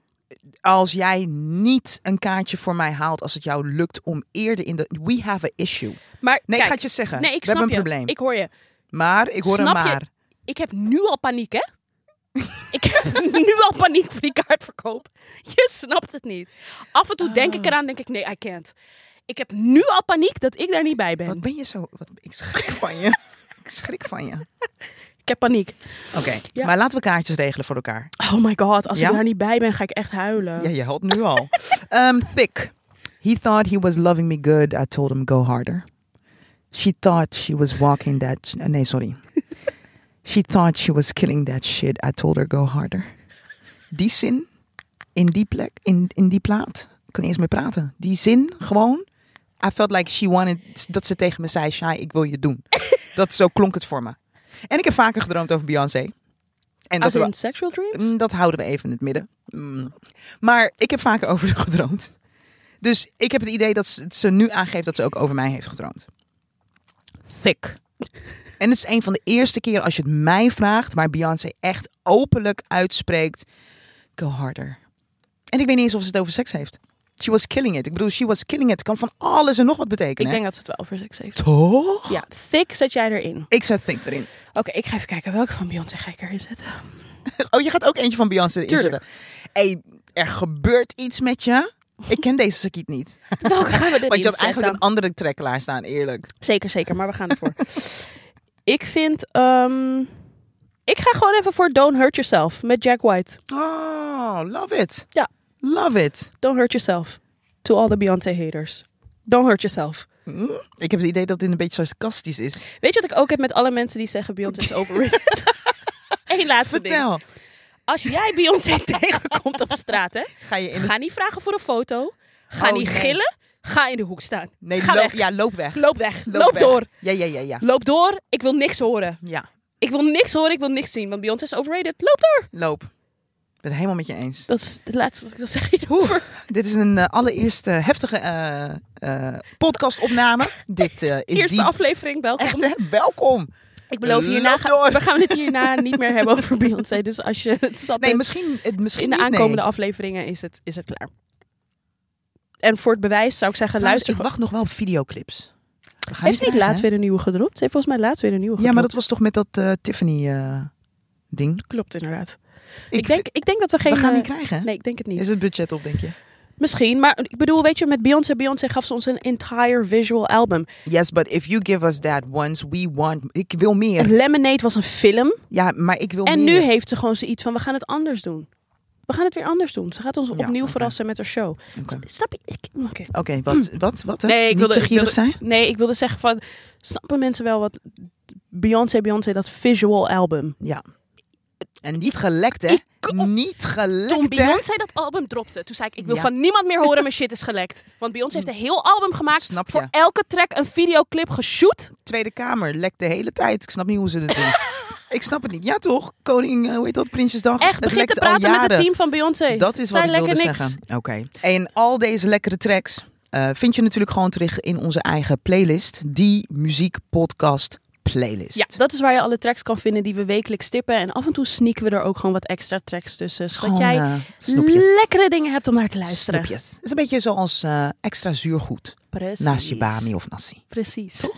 Speaker 2: als jij niet een kaartje voor mij haalt, als het jou lukt om eerder in de... We have a issue.
Speaker 3: Maar
Speaker 2: Nee,
Speaker 3: kijk,
Speaker 2: ik ga het je zeggen.
Speaker 3: Nee, ik
Speaker 2: We
Speaker 3: snap
Speaker 2: hebben een
Speaker 3: je.
Speaker 2: probleem.
Speaker 3: Ik hoor je.
Speaker 2: Maar, ik hoor
Speaker 3: Snap
Speaker 2: een
Speaker 3: je?
Speaker 2: maar.
Speaker 3: Ik heb nu al paniek, hè? ik heb nu al paniek voor die kaartverkoop. Je snapt het niet. Af en toe denk
Speaker 2: Ah.
Speaker 3: ik eraan, denk ik, nee, I can't. Ik heb nu al paniek dat ik daar niet bij ben.
Speaker 2: Wat ben je zo... Wat, ik schrik van je. ik schrik van je.
Speaker 3: Ik heb paniek.
Speaker 2: Oké,
Speaker 3: Ja.
Speaker 2: maar laten we kaartjes regelen voor elkaar.
Speaker 3: Oh my god, als
Speaker 2: Ja?
Speaker 3: ik daar niet bij ben, ga ik echt huilen.
Speaker 2: Ja, je helpt nu al. Ehm, thick. He thought he was loving me good. I told him go harder. She thought she was walking that. eh, nee, sorry. She thought she was killing that shit. I told her go harder. Die zin in die plek, in, in die plaat. Ik kan niet eens meer praten. Die zin gewoon. I felt like she wanted dat ze tegen me zei, Shai, ik wil je doen. dat zo klonk het voor me. En ik heb vaker gedroomd over Beyoncé. En
Speaker 3: Als
Speaker 2: we-
Speaker 3: in sexual dreams?
Speaker 2: Mm, Dat houden we even in het midden. Mm. Maar ik heb vaker over haar gedroomd. Dus ik heb het idee dat ze, ze nu aangeeft dat ze ook over mij heeft gedroomd. Thick. En het is een van de eerste keer als je het mij vraagt, waar Beyoncé echt openlijk uitspreekt: Go harder. En ik weet niet eens of ze het over seks heeft. She was killing it. Ik bedoel, she was killing it. Kan van alles en nog wat betekenen.
Speaker 3: Ik denk dat ze het wel over seks heeft.
Speaker 2: hè? Toch?
Speaker 3: Ja, thick zet jij erin.
Speaker 2: Ik zet Think erin.
Speaker 3: Oké, ik ga even kijken welke van Beyoncé ga ik erin zetten.
Speaker 2: Oh, je gaat ook eentje van Beyoncé erin
Speaker 3: Tuurlijk.
Speaker 2: zetten. hey, er gebeurt iets met je. Ik ken deze Sakiet niet.
Speaker 3: Welke gaan we erin
Speaker 2: Want je had
Speaker 3: zetten?
Speaker 2: eigenlijk een andere track klaarstaan, eerlijk.
Speaker 3: Zeker, zeker, maar we gaan ervoor. ik vind... ehm, ik ga gewoon even voor Don't Hurt Yourself met Jack White.
Speaker 2: Oh, love it.
Speaker 3: Ja.
Speaker 2: Love it.
Speaker 3: Don't Hurt Yourself. To all the Beyoncé haters. Don't hurt yourself.
Speaker 2: Hm? Ik heb het idee dat dit een beetje sarcastisch is.
Speaker 3: Weet je wat ik ook heb met alle mensen die zeggen Beyoncé is overrated? Eén laatste ding.
Speaker 2: Vertel.
Speaker 3: Als jij Beyoncé tegenkomt op straat, hè,
Speaker 2: Ga je in de...
Speaker 3: ga niet vragen voor een foto. Ga
Speaker 2: Oh,
Speaker 3: niet
Speaker 2: nee.
Speaker 3: gillen. Ga in de hoek staan.
Speaker 2: Nee,
Speaker 3: ga
Speaker 2: loop,
Speaker 3: weg.
Speaker 2: Ja, loop weg.
Speaker 3: Loop weg. Loop, door.
Speaker 2: Ja, ja, ja, ja.
Speaker 3: Loop door. Ik wil niks horen.
Speaker 2: Ja,
Speaker 3: Ik wil niks horen. Ik wil niks zien. Want Beyoncé is overrated. Loop door.
Speaker 2: loop. Ik ben het helemaal met je eens.
Speaker 3: Dat is het laatste wat ik wil zeggen. hierover.
Speaker 2: Dit is een eh, allereerste heftige eh, eh, podcastopname. Dit eh, is
Speaker 3: Eerste
Speaker 2: die...
Speaker 3: aflevering. Welkom.
Speaker 2: Echt, hè? Welkom.
Speaker 3: Ik beloof je, hierna
Speaker 2: Loop
Speaker 3: ga-
Speaker 2: door.
Speaker 3: we gaan het hierna niet meer hebben over Beyoncé. Dus als je het zat
Speaker 2: Nee,
Speaker 3: bent,
Speaker 2: misschien, het, misschien
Speaker 3: in de
Speaker 2: niet,
Speaker 3: aankomende
Speaker 2: nee.
Speaker 3: afleveringen is het, is het klaar. En voor het bewijs zou ik zeggen,
Speaker 2: Trouwens,
Speaker 3: luister.
Speaker 2: ik wacht nog wel op videoclips. We gaan
Speaker 3: heeft ze niet
Speaker 2: krijgen,
Speaker 3: laatst
Speaker 2: hè?
Speaker 3: weer een nieuwe gedropt? Ze heeft volgens mij laatst weer een nieuwe
Speaker 2: Ja, maar dat
Speaker 3: gedropt.
Speaker 2: was toch met dat eh, Tiffany eh, ding?
Speaker 3: klopt inderdaad.
Speaker 2: Ik,
Speaker 3: Ik, denk, ik denk dat we geen...
Speaker 2: we gaan
Speaker 3: eh,
Speaker 2: die krijgen, hè?
Speaker 3: Nee, ik denk het niet.
Speaker 2: Is het budget op, denk je?
Speaker 3: Misschien, maar ik bedoel, weet je, met Beyoncé, Beyoncé gaf ze ons een entire visual album.
Speaker 2: Yes, but if you give us that once, we want... Ik wil meer.
Speaker 3: Lemonade was een film.
Speaker 2: Ja, maar ik wil
Speaker 3: en
Speaker 2: meer.
Speaker 3: nu heeft ze gewoon zoiets van, we gaan het anders doen. We gaan het weer anders doen. Ze gaat ons
Speaker 2: Ja,
Speaker 3: opnieuw
Speaker 2: oké.
Speaker 3: verrassen met haar show.
Speaker 2: Oké,
Speaker 3: Snap je? Ik, oké.
Speaker 2: Oké, wat, wat, wat? hè?
Speaker 3: Hm. Nee, ik
Speaker 2: Niet
Speaker 3: wilde-
Speaker 2: te
Speaker 3: ik
Speaker 2: gierig
Speaker 3: wilde-
Speaker 2: zijn?
Speaker 3: Nee, ik wilde zeggen van, snappen mensen wel wat Beyoncé, Beyoncé, dat visual album.
Speaker 2: Ja. En niet gelekt, hè?
Speaker 3: Ik kon-
Speaker 2: Niet gelekt,
Speaker 3: Toen
Speaker 2: hè?
Speaker 3: Beyoncé dat album dropte, toen zei ik, ik wil
Speaker 2: Ja. Mm.
Speaker 3: van niemand meer horen, mijn shit is gelekt. Want Beyoncé heeft een heel album gemaakt,
Speaker 2: Snap je.
Speaker 3: voor elke track een videoclip geshoot.
Speaker 2: Tweede Kamer lekt de hele tijd. Ik snap niet hoe ze dat doen. ik snap het niet. Ja, toch? Koning, eh, hoe heet dat? Prinsjesdag?
Speaker 3: Echt, begin
Speaker 2: lekt
Speaker 3: te
Speaker 2: al
Speaker 3: praten met het
Speaker 2: jaren.
Speaker 3: team van Beyoncé.
Speaker 2: Dat is wat
Speaker 3: Zij
Speaker 2: ik wilde
Speaker 3: lekker niks.
Speaker 2: zeggen. Oké. En al deze lekkere tracks eh, vind je natuurlijk gewoon terug in onze eigen playlist. Die Muziek Podcast Playlist.
Speaker 3: Ja, dat is waar je alle tracks kan vinden die we wekelijks tippen. En af en toe sneaken we er ook gewoon wat extra tracks tussen. Zodat
Speaker 2: Gewoon,
Speaker 3: jij
Speaker 2: eh, snoepjes.
Speaker 3: lekkere dingen hebt om naar te luisteren.
Speaker 2: Snoepjes. Het is een beetje zoals eh, extra zuurgoed
Speaker 3: Precies.
Speaker 2: naast je bami of nasi.
Speaker 3: Precies.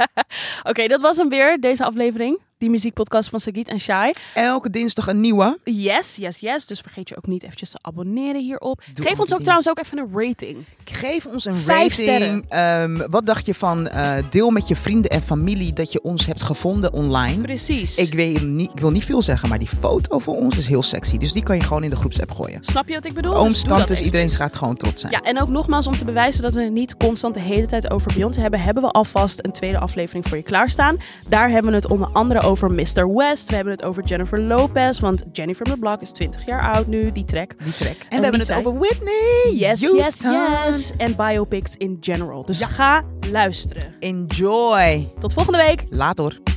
Speaker 3: Oké, dat was hem weer, deze aflevering. Die muziekpodcast van Sagit en Shai.
Speaker 2: Elke dinsdag een nieuwe.
Speaker 3: Yes, yes, yes. Dus vergeet je ook niet eventjes te abonneren hierop. Geef
Speaker 2: allemaal
Speaker 3: ons ook
Speaker 2: die
Speaker 3: trouwens ook even een rating.
Speaker 2: Geef ons een
Speaker 3: Vijf
Speaker 2: rating. Ehm, wat dacht je van eh, deel met je vrienden en familie dat je ons hebt gevonden online?
Speaker 3: Precies.
Speaker 2: Ik, weet niet, ik wil niet veel zeggen, maar die foto van ons is heel sexy. Dus die kan je gewoon in de groepsapp gooien.
Speaker 3: Snap je wat ik bedoel?
Speaker 2: Ooms,
Speaker 3: Dus doe dat
Speaker 2: tantes,
Speaker 3: even.
Speaker 2: iedereen gaat gewoon trots zijn.
Speaker 3: Ja, en ook nogmaals om te bewijzen dat we het niet constant de hele tijd over Beyoncé hebben, hebben we alvast een tweede aflevering voor je klaarstaan. Daar hebben we het onder andere over Mr. West. We hebben het over Jennifer Lopez, want Jenny from the Block is 20 jaar oud nu, die Oh, track.
Speaker 2: Die track. En,
Speaker 3: En
Speaker 2: we hebben
Speaker 3: wie
Speaker 2: het
Speaker 3: zei-
Speaker 2: over Whitney.
Speaker 3: Yes, yes,
Speaker 2: Houston.
Speaker 3: yes. En biopics in general. Dus ga luisteren.
Speaker 2: Enjoy.
Speaker 3: Tot volgende week.
Speaker 2: Later.